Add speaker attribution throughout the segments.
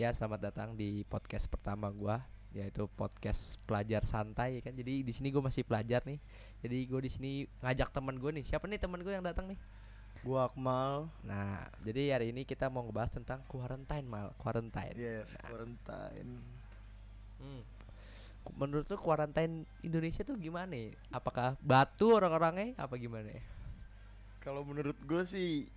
Speaker 1: Ya, selamat datang di podcast pertama gua, yaitu podcast pelajar santai kan. Jadi di sini gua masih pelajar nih. Jadi gua di sini ngajak teman gua nih. Siapa nih teman gua yang datang nih?
Speaker 2: Gua Akmal.
Speaker 1: Nah, jadi hari ini kita mau ngebahas tentang quarantine mal, quarantine.
Speaker 2: Yes, quarantine.
Speaker 1: Hmm. Ku- Menurut lu quarantine Indonesia tuh gimana? ya? Apakah batu orang-orangnya apa gimana? ya?
Speaker 2: Kalau menurut gue sih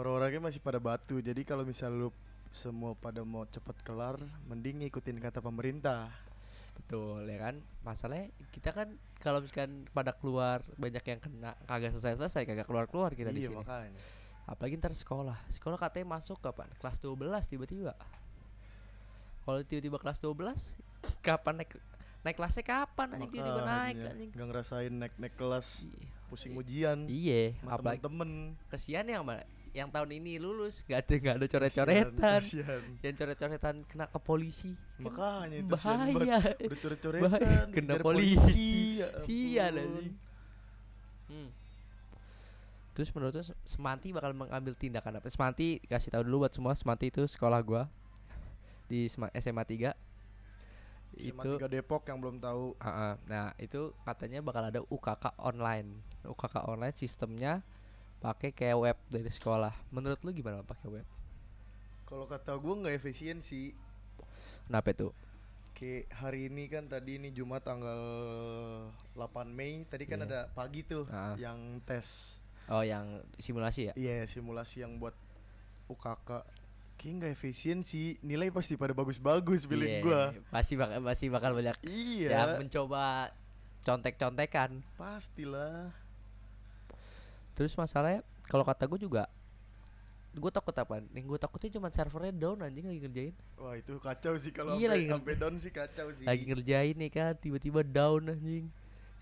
Speaker 2: orang-orangnya masih pada batu. Jadi kalau misal lu semua pada mau cepet kelar, mending ngikutin kata pemerintah.
Speaker 1: Betul ya kan? Masalahnya kita kan kalau misalkan pada keluar banyak yang kena kagak selesai-selesai, kagak keluar-keluar kita di
Speaker 2: iya,
Speaker 1: sini.
Speaker 2: makanya.
Speaker 1: Apalagi ntar sekolah Sekolah katanya masuk kapan? Kelas 12 tiba-tiba Kalau tiba-tiba kelas 12 Kapan naik Naik kelasnya kapan anjing tiba-tiba naik
Speaker 2: Makanya.
Speaker 1: anjing
Speaker 2: Nggak ngerasain naik-naik kelas,
Speaker 1: I-
Speaker 2: pusing ujian.
Speaker 1: Iya
Speaker 2: sama
Speaker 1: Apalagi
Speaker 2: temen-temen.
Speaker 1: kesian yang mana Yang tahun ini lulus Gak ada, gak ada coret-coretan
Speaker 2: Kasihan, kasihan.
Speaker 1: Yang coret-coretan kena ke polisi Kan
Speaker 2: Makanya itu sian banget.
Speaker 1: Bahaya Eh,
Speaker 2: Udah
Speaker 1: Bahaya,
Speaker 2: coret-coretan,
Speaker 1: kena
Speaker 2: dikejar
Speaker 1: polisi.
Speaker 2: ya
Speaker 1: Sial
Speaker 2: ampun.
Speaker 1: anjing Hmm. Terus menurut lu Se- Semanti bakal mengambil tindakan apa? Semanti kasih tahu dulu buat semua Semanti itu sekolah gua di Sema- SMA 3
Speaker 2: Sama
Speaker 1: itu
Speaker 2: tiga Depok yang belum tahu
Speaker 1: Ah, ah. nah itu katanya bakal ada UKK online UKK online sistemnya pakai kayak web dari sekolah menurut lu gimana pakai web
Speaker 2: Kalau kata gue nggak efisien sih.
Speaker 1: kenapa itu
Speaker 2: Kayak hari ini kan tadi ini Jumat tanggal 8 Mei. Tadi
Speaker 1: Iya.
Speaker 2: kan ada pagi tuh
Speaker 1: Ah.
Speaker 2: yang tes.
Speaker 1: oh yang simulasi ya
Speaker 2: Iya simulasi yang buat UKK. Kayak nggak efisien sih. Nilai pasti pada
Speaker 1: Iya, Ya,
Speaker 2: bagus-bagus feeling gua.
Speaker 1: pasti bakal pasti bakal banyak yang
Speaker 2: Iya.
Speaker 1: mencoba contek-contekan
Speaker 2: Pastilah.
Speaker 1: Terus masalahnya kalau kata gue juga gue takut apa? Yang gue takutnya cuma servernya down anjing lagi ngerjain,
Speaker 2: Wah itu kacau sih kalau
Speaker 1: Iya,
Speaker 2: sampai
Speaker 1: lagi nge-
Speaker 2: sampai down sih kacau sih.
Speaker 1: lagi ngerjain nih kan tiba-tiba down anjing.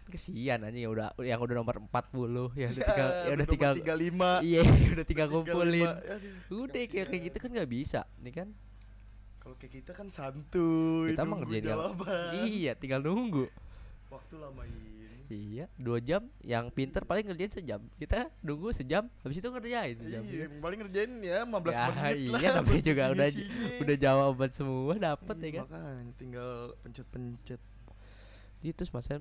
Speaker 1: Kan kesian anjing yang udah yang udah nomor 40 ya udah tinggal ya udah tinggal
Speaker 2: Iya, tiga lima.
Speaker 1: iya udah tinggal kumpulin. Udah kayak kayak gitu kan nggak bisa, nih kan?
Speaker 2: Kalau kayak kita kan santuy.
Speaker 1: Kita mah
Speaker 2: nunggu
Speaker 1: ngerjain yang-
Speaker 2: jawaban.
Speaker 1: Iya, tinggal nunggu.
Speaker 2: Waktu lamain.
Speaker 1: Iya, dua jam. Yang pinter paling ngerjain sejam. Kita nunggu sejam, habis itu ngerjain sejam.
Speaker 2: Iya, yang paling ngerjain ya 15
Speaker 1: Ya,
Speaker 2: menit lah.
Speaker 1: iya, tapi
Speaker 2: buat
Speaker 1: juga udah
Speaker 2: isi-isinya.
Speaker 1: udah jawaban semua dapet ya
Speaker 2: Iya,
Speaker 1: kan?
Speaker 2: Makanya tinggal pencet-pencet.
Speaker 1: Jadi Iya, terus masa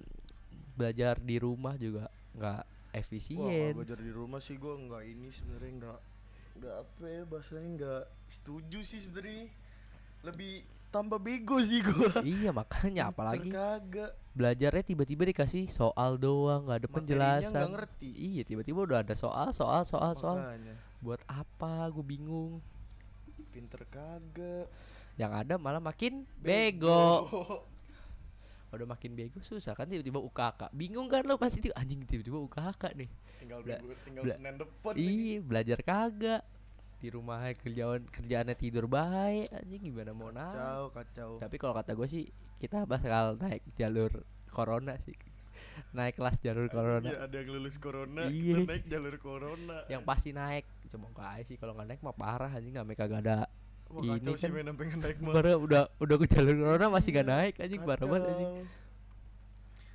Speaker 1: belajar di rumah juga nggak
Speaker 2: Wah, kalau
Speaker 1: efisien.
Speaker 2: belajar di rumah sih gua nggak ini sebenarnya nggak nggak apa ya bahasanya nggak setuju sih sebenarnya. Lebih tambah bego sih gua.
Speaker 1: iya makanya apalagi
Speaker 2: Pinter kagak
Speaker 1: belajarnya tiba-tiba dikasih soal doang nggak ada
Speaker 2: Materinya
Speaker 1: penjelasan.
Speaker 2: nggak ngerti.
Speaker 1: Iya tiba-tiba udah ada soal soal soal Oh, soal.
Speaker 2: Makanya
Speaker 1: Buat apa? Gue bingung.
Speaker 2: pinter kagak.
Speaker 1: Yang ada malah makin bego.
Speaker 2: Bego.
Speaker 1: Udah makin bego susah kan tiba-tiba UKK. Bingung kan lo pasti tiba- anjing tiba-tiba UKK nih.
Speaker 2: tinggal
Speaker 1: Bla-
Speaker 2: bego, tinggal
Speaker 1: bla-
Speaker 2: Senin depan. nih.
Speaker 1: Iya belajar kagak di rumah kerjaan kerjaannya tidur baik anjing gimana mau nanya
Speaker 2: Kacau, kacau.
Speaker 1: Tapi kalau kata gue sih kita bakal naik jalur corona sih. Naik kelas jalur
Speaker 2: Iya,
Speaker 1: corona.
Speaker 2: ada yang lulus corona,
Speaker 1: Iya.
Speaker 2: kita naik jalur corona.
Speaker 1: Yang pasti naik. Coba enggak aja sih kalau nggak naik mah parah anjing namanya kagak ada.
Speaker 2: Wah,
Speaker 1: ini
Speaker 2: kacau sih
Speaker 1: kan-
Speaker 2: main pengen naik mah.
Speaker 1: Baru udah udah ke jalur corona masih nggak
Speaker 2: Iya,
Speaker 1: naik anjing parah banget anjing.
Speaker 2: Kacau.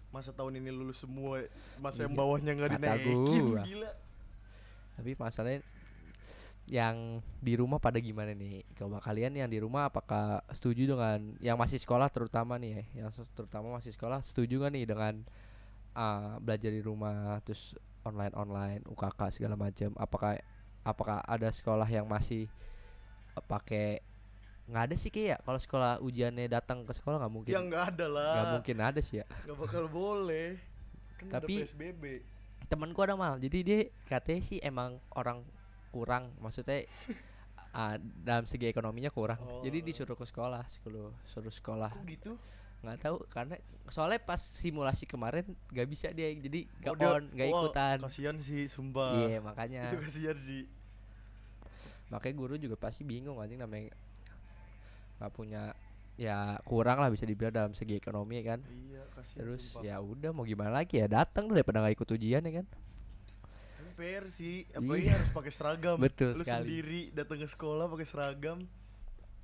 Speaker 2: Masa tahun ini lulus semua, masa yang
Speaker 1: Iya.
Speaker 2: bawahnya nggak
Speaker 1: Kata
Speaker 2: dinaikin
Speaker 1: gua.
Speaker 2: gila.
Speaker 1: Tapi masalahnya yang di rumah pada gimana nih? Coba kalian yang di rumah apakah setuju dengan yang masih sekolah terutama nih ya, yang se- terutama masih sekolah setuju gak nih dengan ah, belajar di rumah terus online online UKK segala macam? Apakah apakah ada sekolah yang masih eh, pakai nggak ada sih kayak kalau sekolah ujiannya datang ke sekolah nggak mungkin
Speaker 2: Ya nggak ada lah.
Speaker 1: nggak mungkin ada sih ya
Speaker 2: Nggak bakal boleh. Kan
Speaker 1: Tapi-
Speaker 2: ada PSBB.
Speaker 1: temanku ada mal jadi dia katanya sih emang orang kurang maksudnya ah, dalam segi ekonominya kurang
Speaker 2: Oh.
Speaker 1: jadi disuruh ke sekolah suruh suruh sekolah
Speaker 2: Kok gitu?
Speaker 1: nggak tahu karena soalnya pas simulasi kemarin nggak bisa dia jadi nggak
Speaker 2: Oh, dia-
Speaker 1: on nggak
Speaker 2: wah,
Speaker 1: ikutan
Speaker 2: Kasihan sih, sumpah.
Speaker 1: iya makanya
Speaker 2: Itu kasihan sih.
Speaker 1: makanya guru juga pasti bingung anjing namanya nggak punya ya kurang lah bisa dibilang dalam segi ekonomi kan
Speaker 2: Iya, kasihan
Speaker 1: terus
Speaker 2: sumpah.
Speaker 1: ya udah mau gimana lagi ya datang daripada nggak ikut ujian ya kan
Speaker 2: Tapi PR sih, apa
Speaker 1: Iya.
Speaker 2: ini harus pakai seragam.
Speaker 1: Betul
Speaker 2: Lu
Speaker 1: sekali.
Speaker 2: sendiri datang ke sekolah pakai seragam.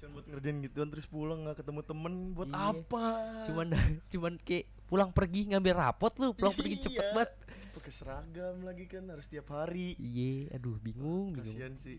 Speaker 2: Cuman buat ngerjain gituan terus pulang nggak ketemu temen buat
Speaker 1: Iya.
Speaker 2: apa?
Speaker 1: cuman cuman kayak pulang pergi ngambil rapot lu pulang pergi cepet
Speaker 2: Iya.
Speaker 1: banget
Speaker 2: pakai seragam lagi kan harus tiap hari.
Speaker 1: iya aduh bingung bingung
Speaker 2: Kasihan sih.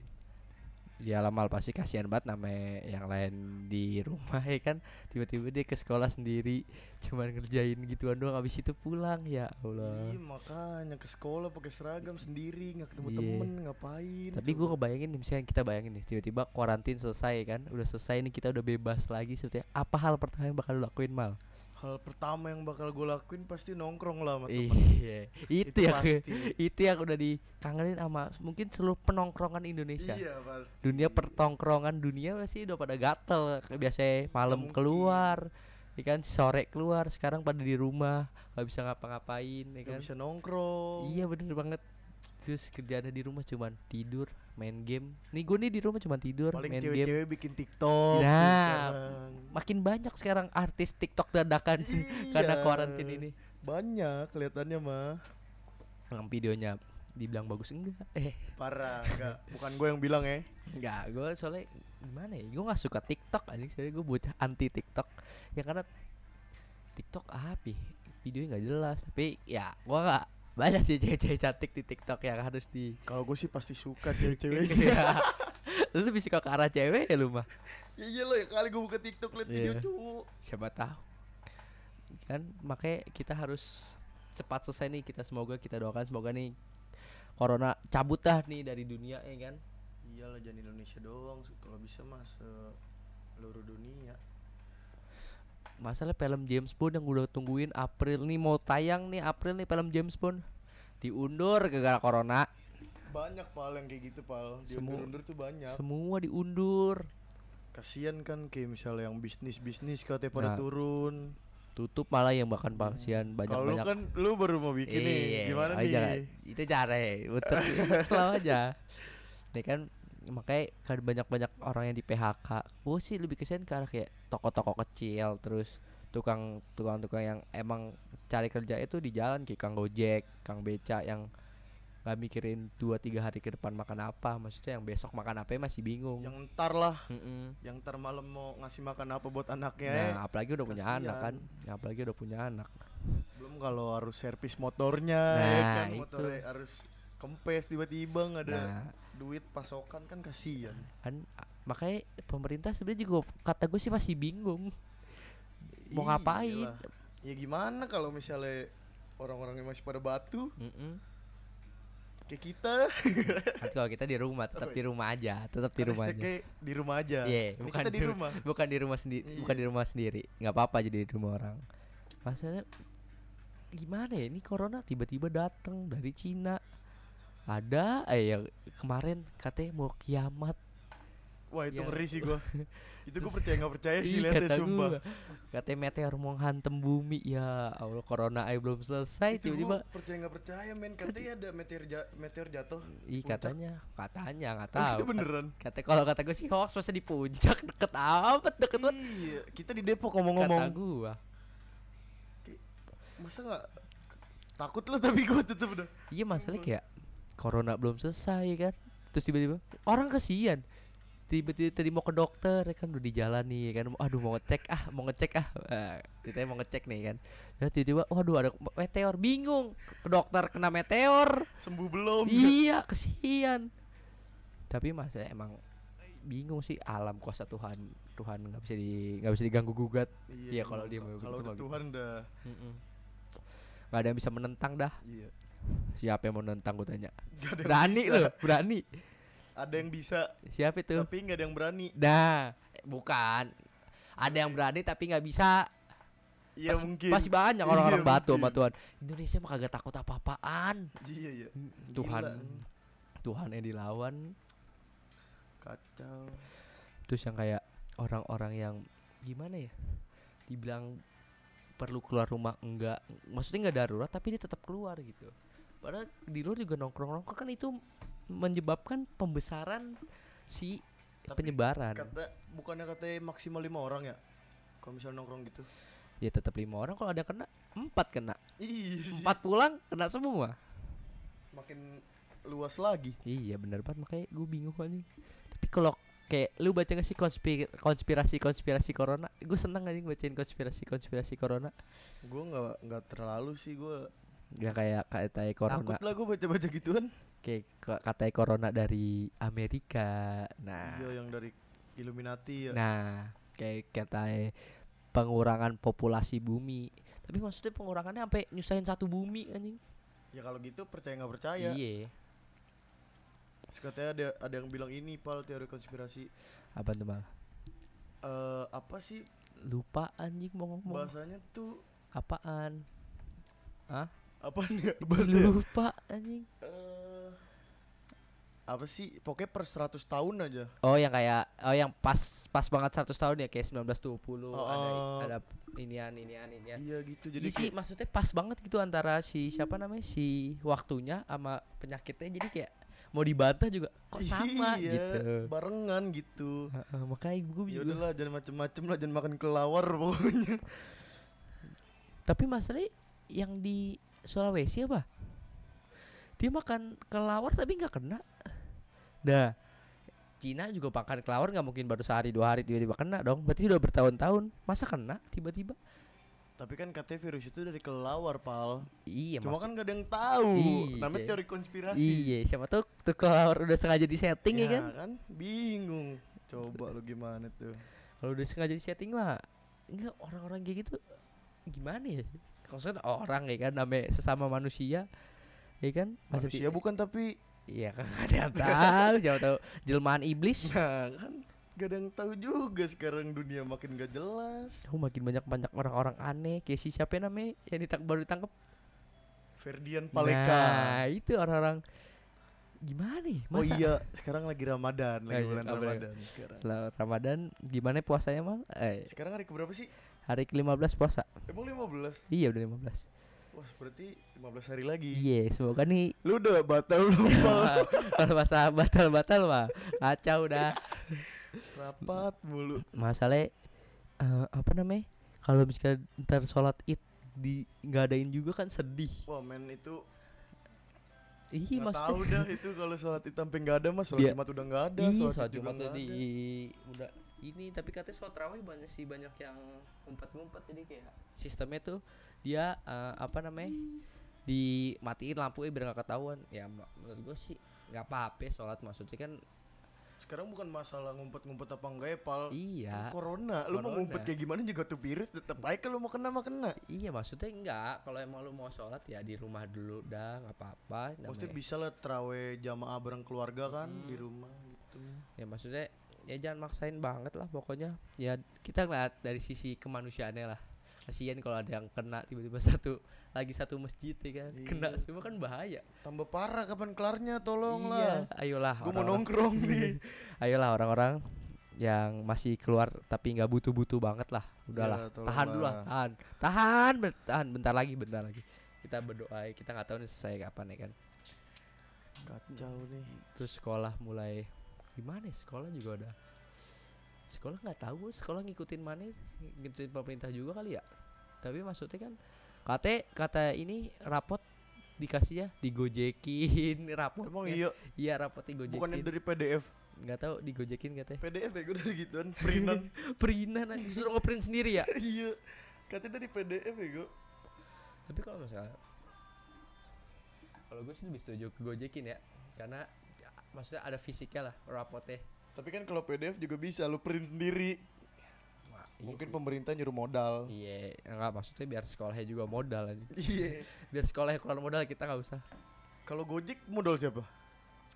Speaker 1: ya Lamal pasti kasihan banget namanya yang lain di rumah ya kan tiba-tiba dia ke sekolah sendiri cuman ngerjain gituan doang habis itu pulang ya Allah
Speaker 2: Iya makanya ke sekolah pakai seragam sendiri nggak ketemu
Speaker 1: Iya.
Speaker 2: temen ngapain?
Speaker 1: tapi gue kebayangin nih misalnya kita bayangin nih tiba-tiba kuarantin selesai kan udah selesai nih kita udah bebas lagi sebetulnya apa hal pertama yang bakal lu lakuin mal
Speaker 2: hal pertama yang bakal gue lakuin pasti nongkrong lah sama temen.
Speaker 1: iya itu yang
Speaker 2: pasti.
Speaker 1: itu yang udah dikangenin sama mungkin seluruh penongkrongan Indonesia
Speaker 2: Iya pasti.
Speaker 1: dunia pertongkrongan dunia masih udah pada gatel Kayak biasanya malam
Speaker 2: mungkin.
Speaker 1: keluar ya kan sore keluar sekarang pada di rumah nggak bisa ngapa-ngapain ya
Speaker 2: Nggak
Speaker 1: kan
Speaker 2: bisa nongkrong.
Speaker 1: iya bener banget terus kerjaannya di rumah cuman tidur main game nih gue nih di rumah cuman tidur
Speaker 2: Paling
Speaker 1: main game
Speaker 2: cewek-cewek bikin TikTok. tuh
Speaker 1: Nah.
Speaker 2: sekarang.
Speaker 1: makin banyak sekarang artis TikTok dadakan karena
Speaker 2: Iya.
Speaker 1: kuarantin ini
Speaker 2: Banyak kelihatannya mah.
Speaker 1: yang videonya dibilang bagus enggak eh
Speaker 2: Parah, enggak. Bukan gue yang bilang ya.
Speaker 1: Enggak, gue soalnya gimana ya? Gue gak suka TikTok anjing soalnya gue bocah anti TikTok. Ya karena TikTok apa? ya? Videonya nggak jelas, tapi ya gue gak banyak sih cewek-cewek cantik di TikTok yang harus di
Speaker 2: Kalau gue sih pasti suka cewek-cewek.
Speaker 1: Ya. lu bisa ke arah cewek ya lu mah
Speaker 2: ya iyalah ya kali gue buka TikTok liat
Speaker 1: Iya.
Speaker 2: video cowok.
Speaker 1: siapa tahu kan makanya kita harus cepat selesai nih kita semoga kita doakan semoga nih corona cabut dah nih dari dunia ya kan
Speaker 2: Iyalah jangan Indonesia doang. Kalau bisa mas seluruh dunia.
Speaker 1: masalah film James Bond yang udah tungguin April nih mau tayang nih April nih film James Bond diundur gara-gara corona
Speaker 2: Banyak pal yang kayak gitu pal.
Speaker 1: Semua-
Speaker 2: Diundur-undur tuh banyak.
Speaker 1: semua diundur
Speaker 2: Kasian kan kayak misalnya yang bisnis-bisnis katanya pada
Speaker 1: Nah.
Speaker 2: turun.
Speaker 1: tutup malah yang bahkan pasian banyak
Speaker 2: Kalau lu
Speaker 1: banyak
Speaker 2: kan lu baru mau bikin nih. Gimana nih?
Speaker 1: Iya, oh itu cara ya, betul selalu aja ya kan makanya kan banyak banyak orang yang di PHK gue sih lebih kesian ke arah kayak toko-toko kecil terus tukang tukang tukang yang emang cari kerja itu di jalan kayak kang gojek kang beca yang nggak mikirin dua tiga hari ke depan makan apa maksudnya yang besok makan apa ya masih bingung
Speaker 2: Yang ntar lah,
Speaker 1: Mm-mm.
Speaker 2: yang ntar malam mau ngasih makan apa buat anaknya. ya.
Speaker 1: nah apalagi udah punya anak kan
Speaker 2: Iya. kasihan.
Speaker 1: apalagi udah punya anak
Speaker 2: Belum kalau harus servis motornya ya
Speaker 1: Nah,
Speaker 2: kan
Speaker 1: itu.
Speaker 2: motornya harus kempes tiba-tiba nggak ada
Speaker 1: nah
Speaker 2: duit pasokan kan kasihan.
Speaker 1: kan a- makanya pemerintah sebenarnya juga kata gue sih masih bingung Mau ngapain?
Speaker 2: Iya, Iyalah. Ya gimana kalau misalnya orang-orang yang masih pada batu
Speaker 1: Mm-mm.
Speaker 2: kayak kita
Speaker 1: Kan kalau kita di rumah tetap
Speaker 2: Apa ya?
Speaker 1: di rumah aja tetap di
Speaker 2: kan
Speaker 1: rumah aja
Speaker 2: hashtagnya di rumah aja.
Speaker 1: Iya,
Speaker 2: Ini
Speaker 1: bukan
Speaker 2: kita di
Speaker 1: di ru-
Speaker 2: rumah.
Speaker 1: bukan di rumah sendiri
Speaker 2: Iya.
Speaker 1: bukan di rumah sendiri nggak apa-apa jadi di rumah orang masalahnya gimana ya ini corona tiba-tiba datang dari Cina ada eh yang kemarin katanya mau kiamat
Speaker 2: Wah itu
Speaker 1: Yang-
Speaker 2: ngeri sih gua. itu gua percaya nggak percaya
Speaker 1: Iya.
Speaker 2: sih
Speaker 1: Ih,
Speaker 2: lihatnya
Speaker 1: kata
Speaker 2: Eh, sumpah.
Speaker 1: gua. katanya meteor mau hantem bumi ya Allah corona aja belum selesai
Speaker 2: Itu
Speaker 1: tiba-tiba
Speaker 2: gua percaya nggak percaya men katanya ada meteor ja- meteor jatuh.
Speaker 1: ih
Speaker 2: puncak.
Speaker 1: katanya katanya nggak
Speaker 2: Tapi
Speaker 1: tahu
Speaker 2: itu beneran.
Speaker 1: Kata kalau kata gue sih hoax masa di puncak deket amat deket banget
Speaker 2: Iya, kita di
Speaker 1: kata
Speaker 2: Depok ngomong-ngomong.
Speaker 1: gua.
Speaker 2: Masa nggak takut lu tapi gua tetep udah.
Speaker 1: Iya masalahnya
Speaker 2: Sumpah.
Speaker 1: kayak corona belum selesai kan. Terus tiba-tiba orang kesian. Tiba-tiba tadi mau ke dokter ya kan udah di jalan nih ya kan. Aduh mau ngecek ah, mau ngecek ah. Eh, Kita mau ngecek nih kan. Terus tiba-tiba waduh ada meteor bingung. Ke dokter kena meteor.
Speaker 2: Sembuh belum?
Speaker 1: iya, kesian. Tapi masa emang bingung sih alam kuasa Tuhan. Tuhan nggak bisa di nggak bisa diganggu gugat. Iya, kalau
Speaker 2: emang
Speaker 1: dia
Speaker 2: ka-
Speaker 1: mau
Speaker 2: kalau
Speaker 1: begitu
Speaker 2: udah
Speaker 1: mah
Speaker 2: Tuhan udah
Speaker 1: Gak ada yang bisa menentang dah.
Speaker 2: iya.
Speaker 1: Siapa yang mau nentang gue tanya?
Speaker 2: Gak ada yang
Speaker 1: Berani
Speaker 2: bisa.
Speaker 1: lo, berani.
Speaker 2: Ada yang bisa,
Speaker 1: Siapa itu?
Speaker 2: tapi nggak ada yang berani.
Speaker 1: Nah, bukan. Ada yang berani tapi nggak bisa.
Speaker 2: Iya
Speaker 1: Pas-
Speaker 2: mungkin.
Speaker 1: Pasti banyak orang-orang
Speaker 2: Iya,
Speaker 1: batu sama
Speaker 2: mungkin.
Speaker 1: Tuhan. Indonesia mah kagak takut apa-apaan.
Speaker 2: Iya iya.
Speaker 1: Tuhan,
Speaker 2: Gila.
Speaker 1: Tuhan yang dilawan.
Speaker 2: Kacau.
Speaker 1: Terus yang kayak orang-orang yang gimana ya? Dibilang perlu keluar rumah enggak. Maksudnya nggak darurat tapi dia tetap keluar gitu. Padahal di luar juga nongkrong-nongkrong kan itu menyebabkan pembesaran si
Speaker 2: Tapi
Speaker 1: penyebaran.
Speaker 2: Kata bukannya katanya maksimal lima orang ya? Kalau misalnya nongkrong gitu.
Speaker 1: Ya tetap lima orang kalau ada yang kena empat kena
Speaker 2: Iya sih.
Speaker 1: empat pulang kena semua.
Speaker 2: Makin luas lagi.
Speaker 1: Iya bener banget makanya gue bingung aja Tapi kalau kayak lu baca gak sih konspir- konspirasi-konspirasi corona Gue seneng aja bacain konspirasi-konspirasi corona
Speaker 2: Gue nggak nggak terlalu sih gue
Speaker 1: Gak kayak kayak corona
Speaker 2: takut lah gue baca baca gituan.
Speaker 1: Oke, ke- katanya corona dari Amerika. Nah,
Speaker 2: Iya yang dari Illuminati ya.
Speaker 1: nah kayak katanya pengurangan populasi bumi. Tapi maksudnya pengurangannya sampai nyusahin satu bumi anjing.
Speaker 2: Ya kalau gitu percaya nggak percaya.
Speaker 1: Iya.
Speaker 2: Terus katanya ada ada yang bilang ini pal teori konspirasi.
Speaker 1: Apa tuh Mal?
Speaker 2: Eh apa sih
Speaker 1: Lupa anjing mau ngomong.
Speaker 2: bahasanya tuh
Speaker 1: Apaan?
Speaker 2: apa nih?
Speaker 1: Lupa anjing.
Speaker 2: Eh, apa sih pokoknya per 100 tahun aja
Speaker 1: Oh, yang kayak oh yang pas pas banget 100 tahun ya kayak 1920 ada
Speaker 2: Oh.
Speaker 1: ada inian inian inian.
Speaker 2: iya gitu
Speaker 1: Jadi Ya. sih maksudnya pas banget gitu antara si siapa namanya si waktunya sama penyakitnya jadi kayak mau dibantah juga kok sama
Speaker 2: iya,
Speaker 1: gitu. Iya.
Speaker 2: barengan gitu
Speaker 1: Heeh, makanya gue
Speaker 2: ya
Speaker 1: juga.
Speaker 2: udahlah jangan macem-macem lah jangan makan kelawar pokoknya
Speaker 1: Tapi masalahnya yang di Sulawesi apa? Dia makan kelawar tapi nggak kena. Nah, Cina juga makan kelawar nggak mungkin baru sehari dua hari tiba-tiba kena dong. Berarti udah bertahun-tahun masa kena tiba-tiba?
Speaker 2: tapi kan katanya virus itu dari kelawar pal
Speaker 1: Iya,
Speaker 2: cuma
Speaker 1: maksud-
Speaker 2: kan gak ada yang tahu
Speaker 1: Iya.
Speaker 2: namanya teori konspirasi
Speaker 1: Iya, siapa tuh tuh kelawar udah sengaja disetting ya
Speaker 2: Ya
Speaker 1: kan?
Speaker 2: kan bingung coba lu gimana tuh
Speaker 1: kalau udah sengaja di setting mah enggak orang-orang kayak gitu gimana ya maksudnya orang ya kan namanya sesama manusia ya kan Masa ti-
Speaker 2: manusia bukan tapi
Speaker 1: iya kan nggak ada yang tahu siapa tahu jelmaan iblis
Speaker 2: nah kan gak ada yang tahu juga sekarang dunia makin gak jelas
Speaker 1: Tahu Oh, makin banyak banyak orang-orang aneh kayak si siapa ya namanya yang ditang baru ditangkap
Speaker 2: Ferdian Paleka
Speaker 1: nah itu orang-orang gimana ya
Speaker 2: oh
Speaker 1: masa
Speaker 2: iya sekarang lagi Ramadan lagi
Speaker 1: Iya,
Speaker 2: bulan
Speaker 1: apa ya?
Speaker 2: Ramadan sekarang
Speaker 1: setelah Ramadan gimana puasanya mal eh,
Speaker 2: sekarang hari keberapa sih
Speaker 1: hari ke-15 puasa
Speaker 2: emang 15
Speaker 1: iya udah 15
Speaker 2: wah berarti 15 hari lagi
Speaker 1: iya semoga nih
Speaker 2: lu udah batal belum Pal?
Speaker 1: Wah, kalau masa batal-batal mah kacau dah
Speaker 2: rapat mulu
Speaker 1: masalahnya eh, apa namanya kalau misalkan ntar sholat id di nggak adain juga kan sedih
Speaker 2: wah men itu
Speaker 1: ih
Speaker 2: nggak
Speaker 1: maksudnya
Speaker 2: tahu dah itu kalau sholat id sampai nggak ada mas
Speaker 1: Iya.
Speaker 2: sholat jumat udah nggak ada
Speaker 1: ih
Speaker 2: sholat,
Speaker 1: sholat
Speaker 2: id juga
Speaker 1: jumat
Speaker 2: nggak
Speaker 1: tuh di
Speaker 2: ada.
Speaker 1: udah ini tapi katanya sholat raweh banyak sih banyak yang ngumpet-ngumpet jadi kayak sistemnya tuh dia eh, apa namanya dimatiin lampunya biar nggak ketahuan ya ma- menurut gue sih nggak apa-apa sholat maksudnya kan
Speaker 2: sekarang bukan masalah ngumpet-ngumpet apa enggak ya pal
Speaker 1: iya
Speaker 2: Itu corona lu mau
Speaker 1: Corona.
Speaker 2: ngumpet kayak gimana juga tuh virus tetap baik kalau mau kena mah kena
Speaker 1: Iya maksudnya enggak Kalau emang lu mau sholat ya di rumah dulu dah nggak apa-apa
Speaker 2: maksudnya
Speaker 1: namanya-
Speaker 2: bisa lah teraweh jamaah bareng keluarga kan
Speaker 1: Hmm.
Speaker 2: di rumah gitu
Speaker 1: Ya maksudnya ya jangan maksain banget lah pokoknya Ya kita ngeliat dari sisi kemanusiaannya lah Kasian kalau ada yang kena tiba-tiba satu Lagi satu masjid ya kan Kena
Speaker 2: Iya.
Speaker 1: semua kan bahaya
Speaker 2: tambah parah kapan kelarnya
Speaker 1: Iya
Speaker 2: tolong lah
Speaker 1: ayolah
Speaker 2: gue mau
Speaker 1: orang-orang-
Speaker 2: nongkrong nih
Speaker 1: Ayolah orang-orang yang masih keluar tapi nggak butuh-butuh banget lah udahlah
Speaker 2: Iya, tolong
Speaker 1: tahan dulu lah
Speaker 2: lah.
Speaker 1: tahan tahan ber- tahan bentar lagi bentar lagi kita berdoa ya, kita nggak tahu nih selesai kapan ya kan
Speaker 2: kacau nih
Speaker 1: terus sekolah mulai gimana ya sekolah juga ada sekolah nggak tahu sekolah ngikutin mana ngikutin pemerintah juga kali ya tapi maksudnya kan kata kata ini rapot dikasih ya digojekin rapot
Speaker 2: emang iya
Speaker 1: iya rapot digojekin
Speaker 2: bukannya dari PDF
Speaker 1: nggak tahu digojekin katanya
Speaker 2: PDF ya gue dari gituan printan
Speaker 1: perinan aja, suruh ngeprint sendiri ya
Speaker 2: iya katanya dari PDF ya gue
Speaker 1: tapi kalau misalnya kalau gue sih lebih setuju ke gojekin ya karena ya, maksudnya ada fisiknya lah rapotnya
Speaker 2: tapi kan kalau PDF juga bisa lu print sendiri
Speaker 1: Wah, iya sih.
Speaker 2: mungkin pemerintah nyuruh modal
Speaker 1: Iya, enggak maksudnya biar sekolahnya juga modal aja.
Speaker 2: iya
Speaker 1: Biar sekolahnya keluar modal kita nggak usah.
Speaker 2: kalau Gojek modal siapa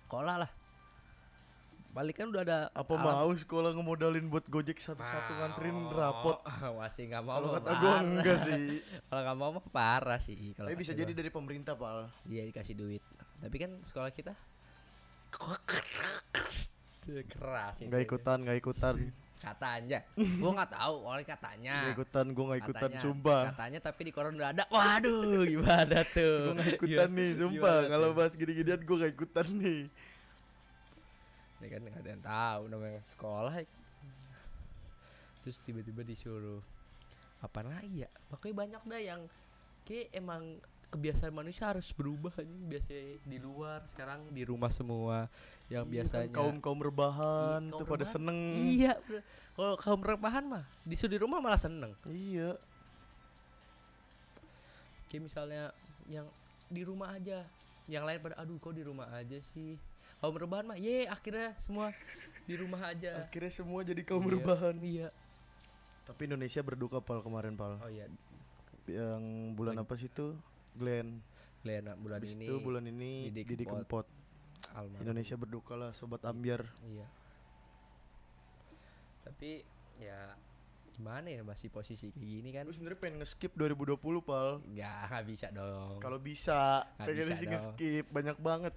Speaker 1: Sekolah lah. Balik kan udah ada Ah.
Speaker 2: apa mau sekolah ngemodalin buat Gojek satu-satu nganterin rapot
Speaker 1: Masih nggak mau.
Speaker 2: kalau
Speaker 1: mah
Speaker 2: kata gue
Speaker 1: parah.
Speaker 2: enggak sih
Speaker 1: Kalau nggak mau mah parah sih. Kalau
Speaker 2: tapi bisa
Speaker 1: kata
Speaker 2: jadi
Speaker 1: gua.
Speaker 2: dari pemerintah pal
Speaker 1: dia dikasih duit. Tapi kan sekolah kita keras itu.
Speaker 2: Iya. nggak ikutan nggak ikutan
Speaker 1: Katanya. Gua nggak tahu, oleh katanya.
Speaker 2: nggak ikutan gue nggak ikutan
Speaker 1: Katanya.
Speaker 2: sumpah
Speaker 1: Katanya tapi di koran udah ada. Waduh, gimana
Speaker 2: gue
Speaker 1: tuh?
Speaker 2: nggak ikutan nih sumpah
Speaker 1: Gimana
Speaker 2: kalau
Speaker 1: tuh?
Speaker 2: bahas gini-ginian gue nggak ikutan nih
Speaker 1: ya kan nggak ada yang tahu namanya sekolah ya. terus tiba-tiba disuruh apa lagi ya makanya banyak dah yang kayak emang kebiasaan manusia harus berubah anjing biasanya di luar sekarang di rumah semua yang biasanya
Speaker 2: Iya kaum mm. kaum kan? rebahan
Speaker 1: Iya, kaum
Speaker 2: tuh pada
Speaker 1: rebahan.
Speaker 2: seneng
Speaker 1: iya bener. kalau kaum rebahan mah disuruh di rumah malah seneng
Speaker 2: iya
Speaker 1: kayak misalnya yang di rumah aja yang lain pada aduh kok di rumah aja sih kalau perubahan mah ye akhirnya semua di rumah aja
Speaker 2: Akhirnya semua jadi kaum
Speaker 1: Iya,
Speaker 2: rebahan.
Speaker 1: iya
Speaker 2: Tapi Indonesia berduka pal kemarin pal.
Speaker 1: oh iya
Speaker 2: Yang bulan apa sih itu? Glenn.
Speaker 1: Lena bulan
Speaker 2: Habis
Speaker 1: ini
Speaker 2: itu bulan ini
Speaker 1: Didi
Speaker 2: Didi
Speaker 1: Kempot.
Speaker 2: Kempot.
Speaker 1: almarhum.
Speaker 2: Indonesia berduka lah sobat ambiar.
Speaker 1: Iya. Tapi ya gimana ya masih posisi kayak gini kan?
Speaker 2: Gue sebenarnya pengen nge-skip 2020 pal.
Speaker 1: Nggak, nggak bisa dong.
Speaker 2: Kalau bisa,
Speaker 1: Nggak
Speaker 2: pengen
Speaker 1: bisa
Speaker 2: sih
Speaker 1: dong.
Speaker 2: nge-skip banyak banget.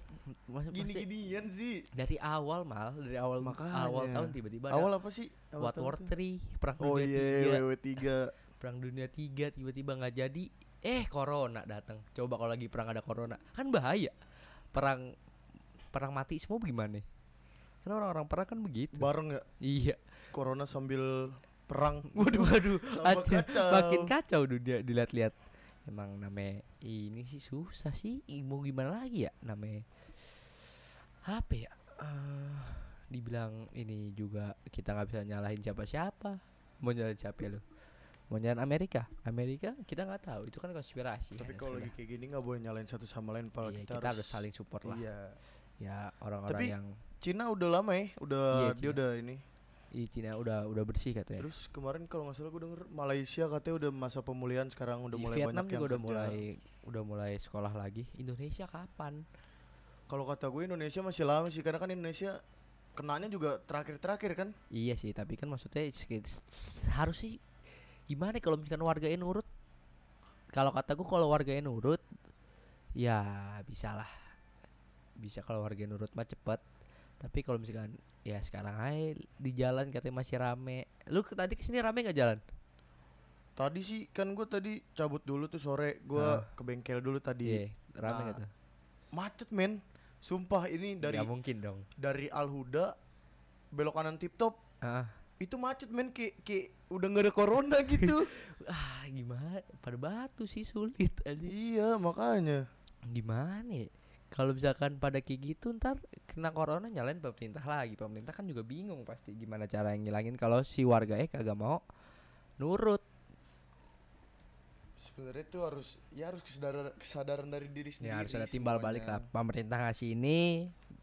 Speaker 1: Mas- pasti
Speaker 2: Gini-ginian sih.
Speaker 1: dari awal mal, dari awal
Speaker 2: Makanya.
Speaker 1: awal tahun tiba-tiba ada
Speaker 2: Awal apa sih? Awal
Speaker 1: World
Speaker 2: tahun
Speaker 1: War
Speaker 2: tuh.
Speaker 1: 3, perang
Speaker 2: Oh
Speaker 1: dunia 3,
Speaker 2: iya, WW 3.
Speaker 1: perang dunia 3 tiba-tiba nggak jadi. Eh, corona datang. Coba kalau lagi perang ada corona, kan bahaya. Perang perang mati semua gimana? Karena orang-orang perang kan begitu.
Speaker 2: Bareng ya
Speaker 1: iya.
Speaker 2: corona sambil perang.
Speaker 1: Waduh, waduh.
Speaker 2: Tambah
Speaker 1: Aceh.
Speaker 2: kacau.
Speaker 1: makin kacau dunia dilihat-lihat emang namanya ini sih susah sih Ih, mau gimana lagi ya namanya apa ya Eh, dibilang ini juga kita nggak bisa nyalahin siapa-siapa mau nyalahin siapa ya lu mau nyalahin Amerika Amerika kita nggak tahu itu kan konspirasi
Speaker 2: Tapi
Speaker 1: hanya
Speaker 2: kalau lagi
Speaker 1: sekedar.
Speaker 2: kayak gini nggak boleh nyalain satu sama lain pal.
Speaker 1: Iya, kita, harus saling support lah
Speaker 2: Iya.
Speaker 1: ya orang-orang
Speaker 2: Tapi-
Speaker 1: yang
Speaker 2: Cina udah lama ya, udah
Speaker 1: Iya,
Speaker 2: dia
Speaker 1: Cina. Iya.
Speaker 2: udah ini.
Speaker 1: Ih, Cina udah udah bersih katanya
Speaker 2: Terus kemarin kalau nggak salah gue denger Malaysia katanya udah masa pemulihan sekarang udah
Speaker 1: Di
Speaker 2: mulai
Speaker 1: Vietnam
Speaker 2: banyak
Speaker 1: juga
Speaker 2: yang
Speaker 1: udah
Speaker 2: kerja.
Speaker 1: mulai udah mulai sekolah lagi Indonesia kapan
Speaker 2: Kalau kata gue Indonesia masih lama sih karena kan Indonesia kenanya juga terakhir-terakhir kan.
Speaker 1: Iya sih, tapi kan maksudnya seki- s- s- harus sih gimana kalau misalkan warganya nurut? Kalau kata gua kalau warganya nurut ya bisa lah. Bisa kalau warganya nurut mah cepet Tapi kalau misalkan ya sekarang hai di jalan katanya masih rame. Lu ke- tadi kesini rame nggak jalan?
Speaker 2: Tadi sih kan gue tadi cabut dulu tuh sore gue
Speaker 1: Ah.
Speaker 2: ke bengkel dulu tadi.
Speaker 1: Iya, rame nggak
Speaker 2: Nah,
Speaker 1: tuh?
Speaker 2: Macet men. Sumpah ini dari
Speaker 1: Nggak mungkin dong.
Speaker 2: dari Al Huda belok kanan tip top
Speaker 1: Ah,
Speaker 2: itu macet men kayak kayak udah nggak ada corona gitu.
Speaker 1: ah, gimana? Pada batu sih sulit aja.
Speaker 2: iya makanya.
Speaker 1: gimana ya? kalau misalkan pada kayak gitu ntar kena corona nyalain pemerintah lagi pemerintah kan juga bingung pasti gimana cara ngilangin kalau si warga eh kagak mau nurut
Speaker 2: Sebenarnya tuh harus ya harus kesadaran kesadaran dari diri sendiri.
Speaker 1: ya harus ada timbal balik lah
Speaker 2: semuanya.
Speaker 1: pemerintah ngasih ini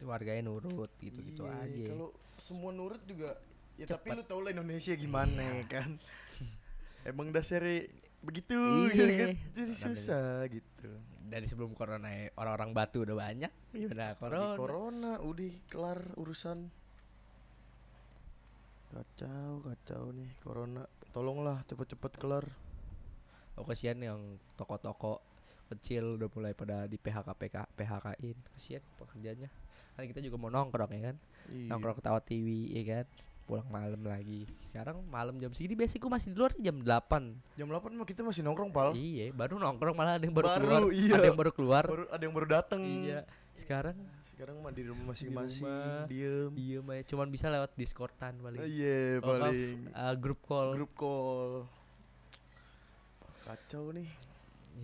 Speaker 1: warganya nurut gitu gitu
Speaker 2: Iya,
Speaker 1: aja
Speaker 2: Kalau semua nurut juga ya tapi
Speaker 1: Cepet.
Speaker 2: lu tau lah Indonesia gimana ya kan. Emang dasarnya begitu
Speaker 1: Iya.
Speaker 2: gitu kan. Jadi
Speaker 1: Namanya-
Speaker 2: susah gitu.
Speaker 1: dari sebelum corona ya, orang-orang batu udah banyak gimana
Speaker 2: Corona.
Speaker 1: corona
Speaker 2: corona udah kelar urusan. Kacau, kacau nih corona. Tolonglah cepet-cepet kelar.
Speaker 1: oh kasihan yang toko-toko kecil udah mulai pada di PHK PK PHK in kasihan pekerjaannya kan kita juga mau nongkrong ya kan
Speaker 2: Iya.
Speaker 1: nongkrong ketawa TV ya kan pulang malam lagi sekarang malam jam segini biasanya gue masih di luar jam 8
Speaker 2: Jam 8 mah kita masih nongkrong, Pal.
Speaker 1: iya baru nongkrong malah ada yang baru,
Speaker 2: Oh. Baru,
Speaker 1: keluar
Speaker 2: iya.
Speaker 1: ada yang baru keluar
Speaker 2: Baru ada yang baru datang.
Speaker 1: iya sekarang
Speaker 2: Sekarang mah di rumah masing-masing,
Speaker 1: rumah.
Speaker 2: diem.
Speaker 1: iya Maya. cuman bisa lewat discordan paling
Speaker 2: Iya,
Speaker 1: Kalau nggak,
Speaker 2: paling.
Speaker 1: eh, grup call
Speaker 2: grup call kacau nih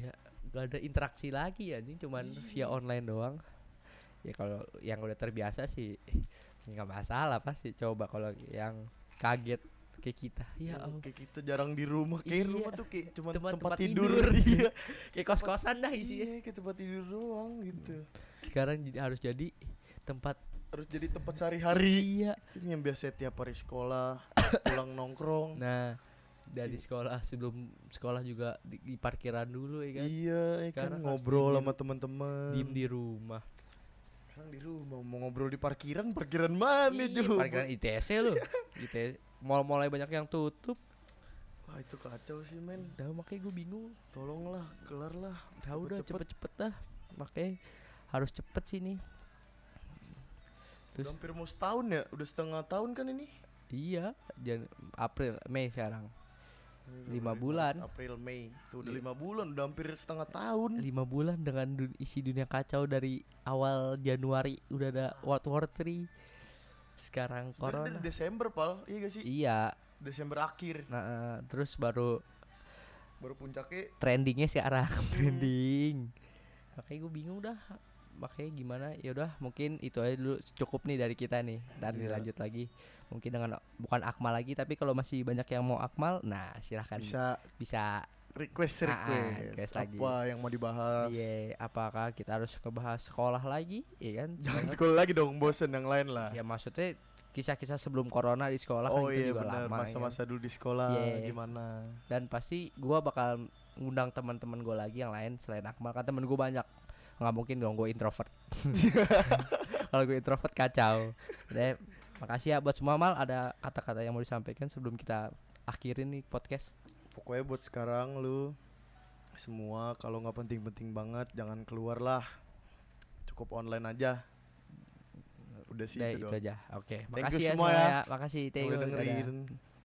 Speaker 1: ya gak ada interaksi lagi ya ini cuman via online doang ya kalau yang udah terbiasa sih nggak masalah pasti coba kalau yang kaget kayak kita ya
Speaker 2: Yang
Speaker 1: ampun.
Speaker 2: kayak kita jarang di rumah kayak
Speaker 1: Iya.
Speaker 2: rumah tuh kayak cuma
Speaker 1: Tempat-
Speaker 2: tempat,
Speaker 1: tempat
Speaker 2: tidur,
Speaker 1: tidur.
Speaker 2: iya
Speaker 1: kayak kos kosan dah
Speaker 2: iya
Speaker 1: isinya
Speaker 2: kayak tempat tidur doang gitu
Speaker 1: sekarang jadi- harus jadi tempat
Speaker 2: harus jadi tempat sehari-hari
Speaker 1: Iya.
Speaker 2: Ini yang biasa tiap hari sekolah pulang nongkrong
Speaker 1: Nah, dari sekolah sebelum sekolah juga di, di parkiran dulu ya kan.
Speaker 2: iya ya kan
Speaker 1: Sekarang harus
Speaker 2: ngobrol
Speaker 1: diem.
Speaker 2: sama teman-teman
Speaker 1: Diem di rumah.
Speaker 2: sekarang di rumah mau ngobrol di parkiran parkiran mana
Speaker 1: Ih,
Speaker 2: tuh
Speaker 1: Iya, parkiran ITC ya lu.
Speaker 2: Iya.
Speaker 1: ITC mall-mall banyak yang tutup.
Speaker 2: wah itu kacau sih men
Speaker 1: Udah makanya gue bingung.
Speaker 2: tolonglah kelar lah
Speaker 1: Tahu udah
Speaker 2: Cepet-cepet.
Speaker 1: cepet-cepet dah. Makanya harus cepet sih nih.
Speaker 2: udah
Speaker 1: Terus
Speaker 2: hampir mau setahun ya udah setengah tahun kan ini
Speaker 1: iya, Jan April, Mei sekarang. Lima
Speaker 2: Februari,
Speaker 1: bulan.
Speaker 2: Maret, April, Mei. Tuh udah
Speaker 1: Iya.
Speaker 2: lima bulan, udah hampir setengah tahun.
Speaker 1: Lima bulan dengan dun- isi dunia kacau dari awal Januari udah ada World War 3. Sekarang
Speaker 2: Sebenarnya dari
Speaker 1: corona.
Speaker 2: Desember, Pal. Iya gak sih?
Speaker 1: Iya,
Speaker 2: Desember akhir.
Speaker 1: Nah, eh, terus baru
Speaker 2: Baru puncaknya
Speaker 1: trendingnya sekarang
Speaker 2: Iya.
Speaker 1: trending. Makanya gue bingung dah. Makanya gimana? Ya udah, mungkin itu aja dulu cukup nih dari kita nih. Dan
Speaker 2: Iya.
Speaker 1: dilanjut lagi mungkin dengan bukan Akmal lagi, tapi kalau masih banyak yang mau Akmal, nah silahkan
Speaker 2: bisa
Speaker 1: bisa
Speaker 2: request
Speaker 1: Ah, ah, request
Speaker 2: request apa
Speaker 1: lagi.
Speaker 2: yang mau dibahas
Speaker 1: Iya, apakah kita harus kebahas sekolah lagi? Iya kan?
Speaker 2: jangan
Speaker 1: Sekolah-
Speaker 2: sekolah lagi dong bosen yang lain lah
Speaker 1: Ya maksudnya kisah-kisah sebelum corona di sekolah
Speaker 2: oh
Speaker 1: kan
Speaker 2: iya
Speaker 1: itu juga
Speaker 2: benar
Speaker 1: lama. ya kan?
Speaker 2: masa-masa dulu di sekolah
Speaker 1: Iya.
Speaker 2: gimana
Speaker 1: Dan pasti gua bakal ngundang teman-teman gua lagi yang lain selain Akmal kan temen gua banyak. nggak mungkin dong gue introvert. Kalau gue introvert kacau. Deh, makasih ya buat semua mal ada kata-kata yang mau disampaikan sebelum kita akhirin nih podcast.
Speaker 2: pokoknya buat sekarang lu semua kalau nggak penting-penting banget jangan keluar lah cukup online aja udah sih
Speaker 1: Deh, itu
Speaker 2: itu doang
Speaker 1: aja. Oke,
Speaker 2: Thank you
Speaker 1: makasih ya
Speaker 2: semua
Speaker 1: semua
Speaker 2: ya.
Speaker 1: ya. Makasih
Speaker 2: Yang
Speaker 1: Teo.
Speaker 2: udah
Speaker 1: Dadah.
Speaker 2: dengerin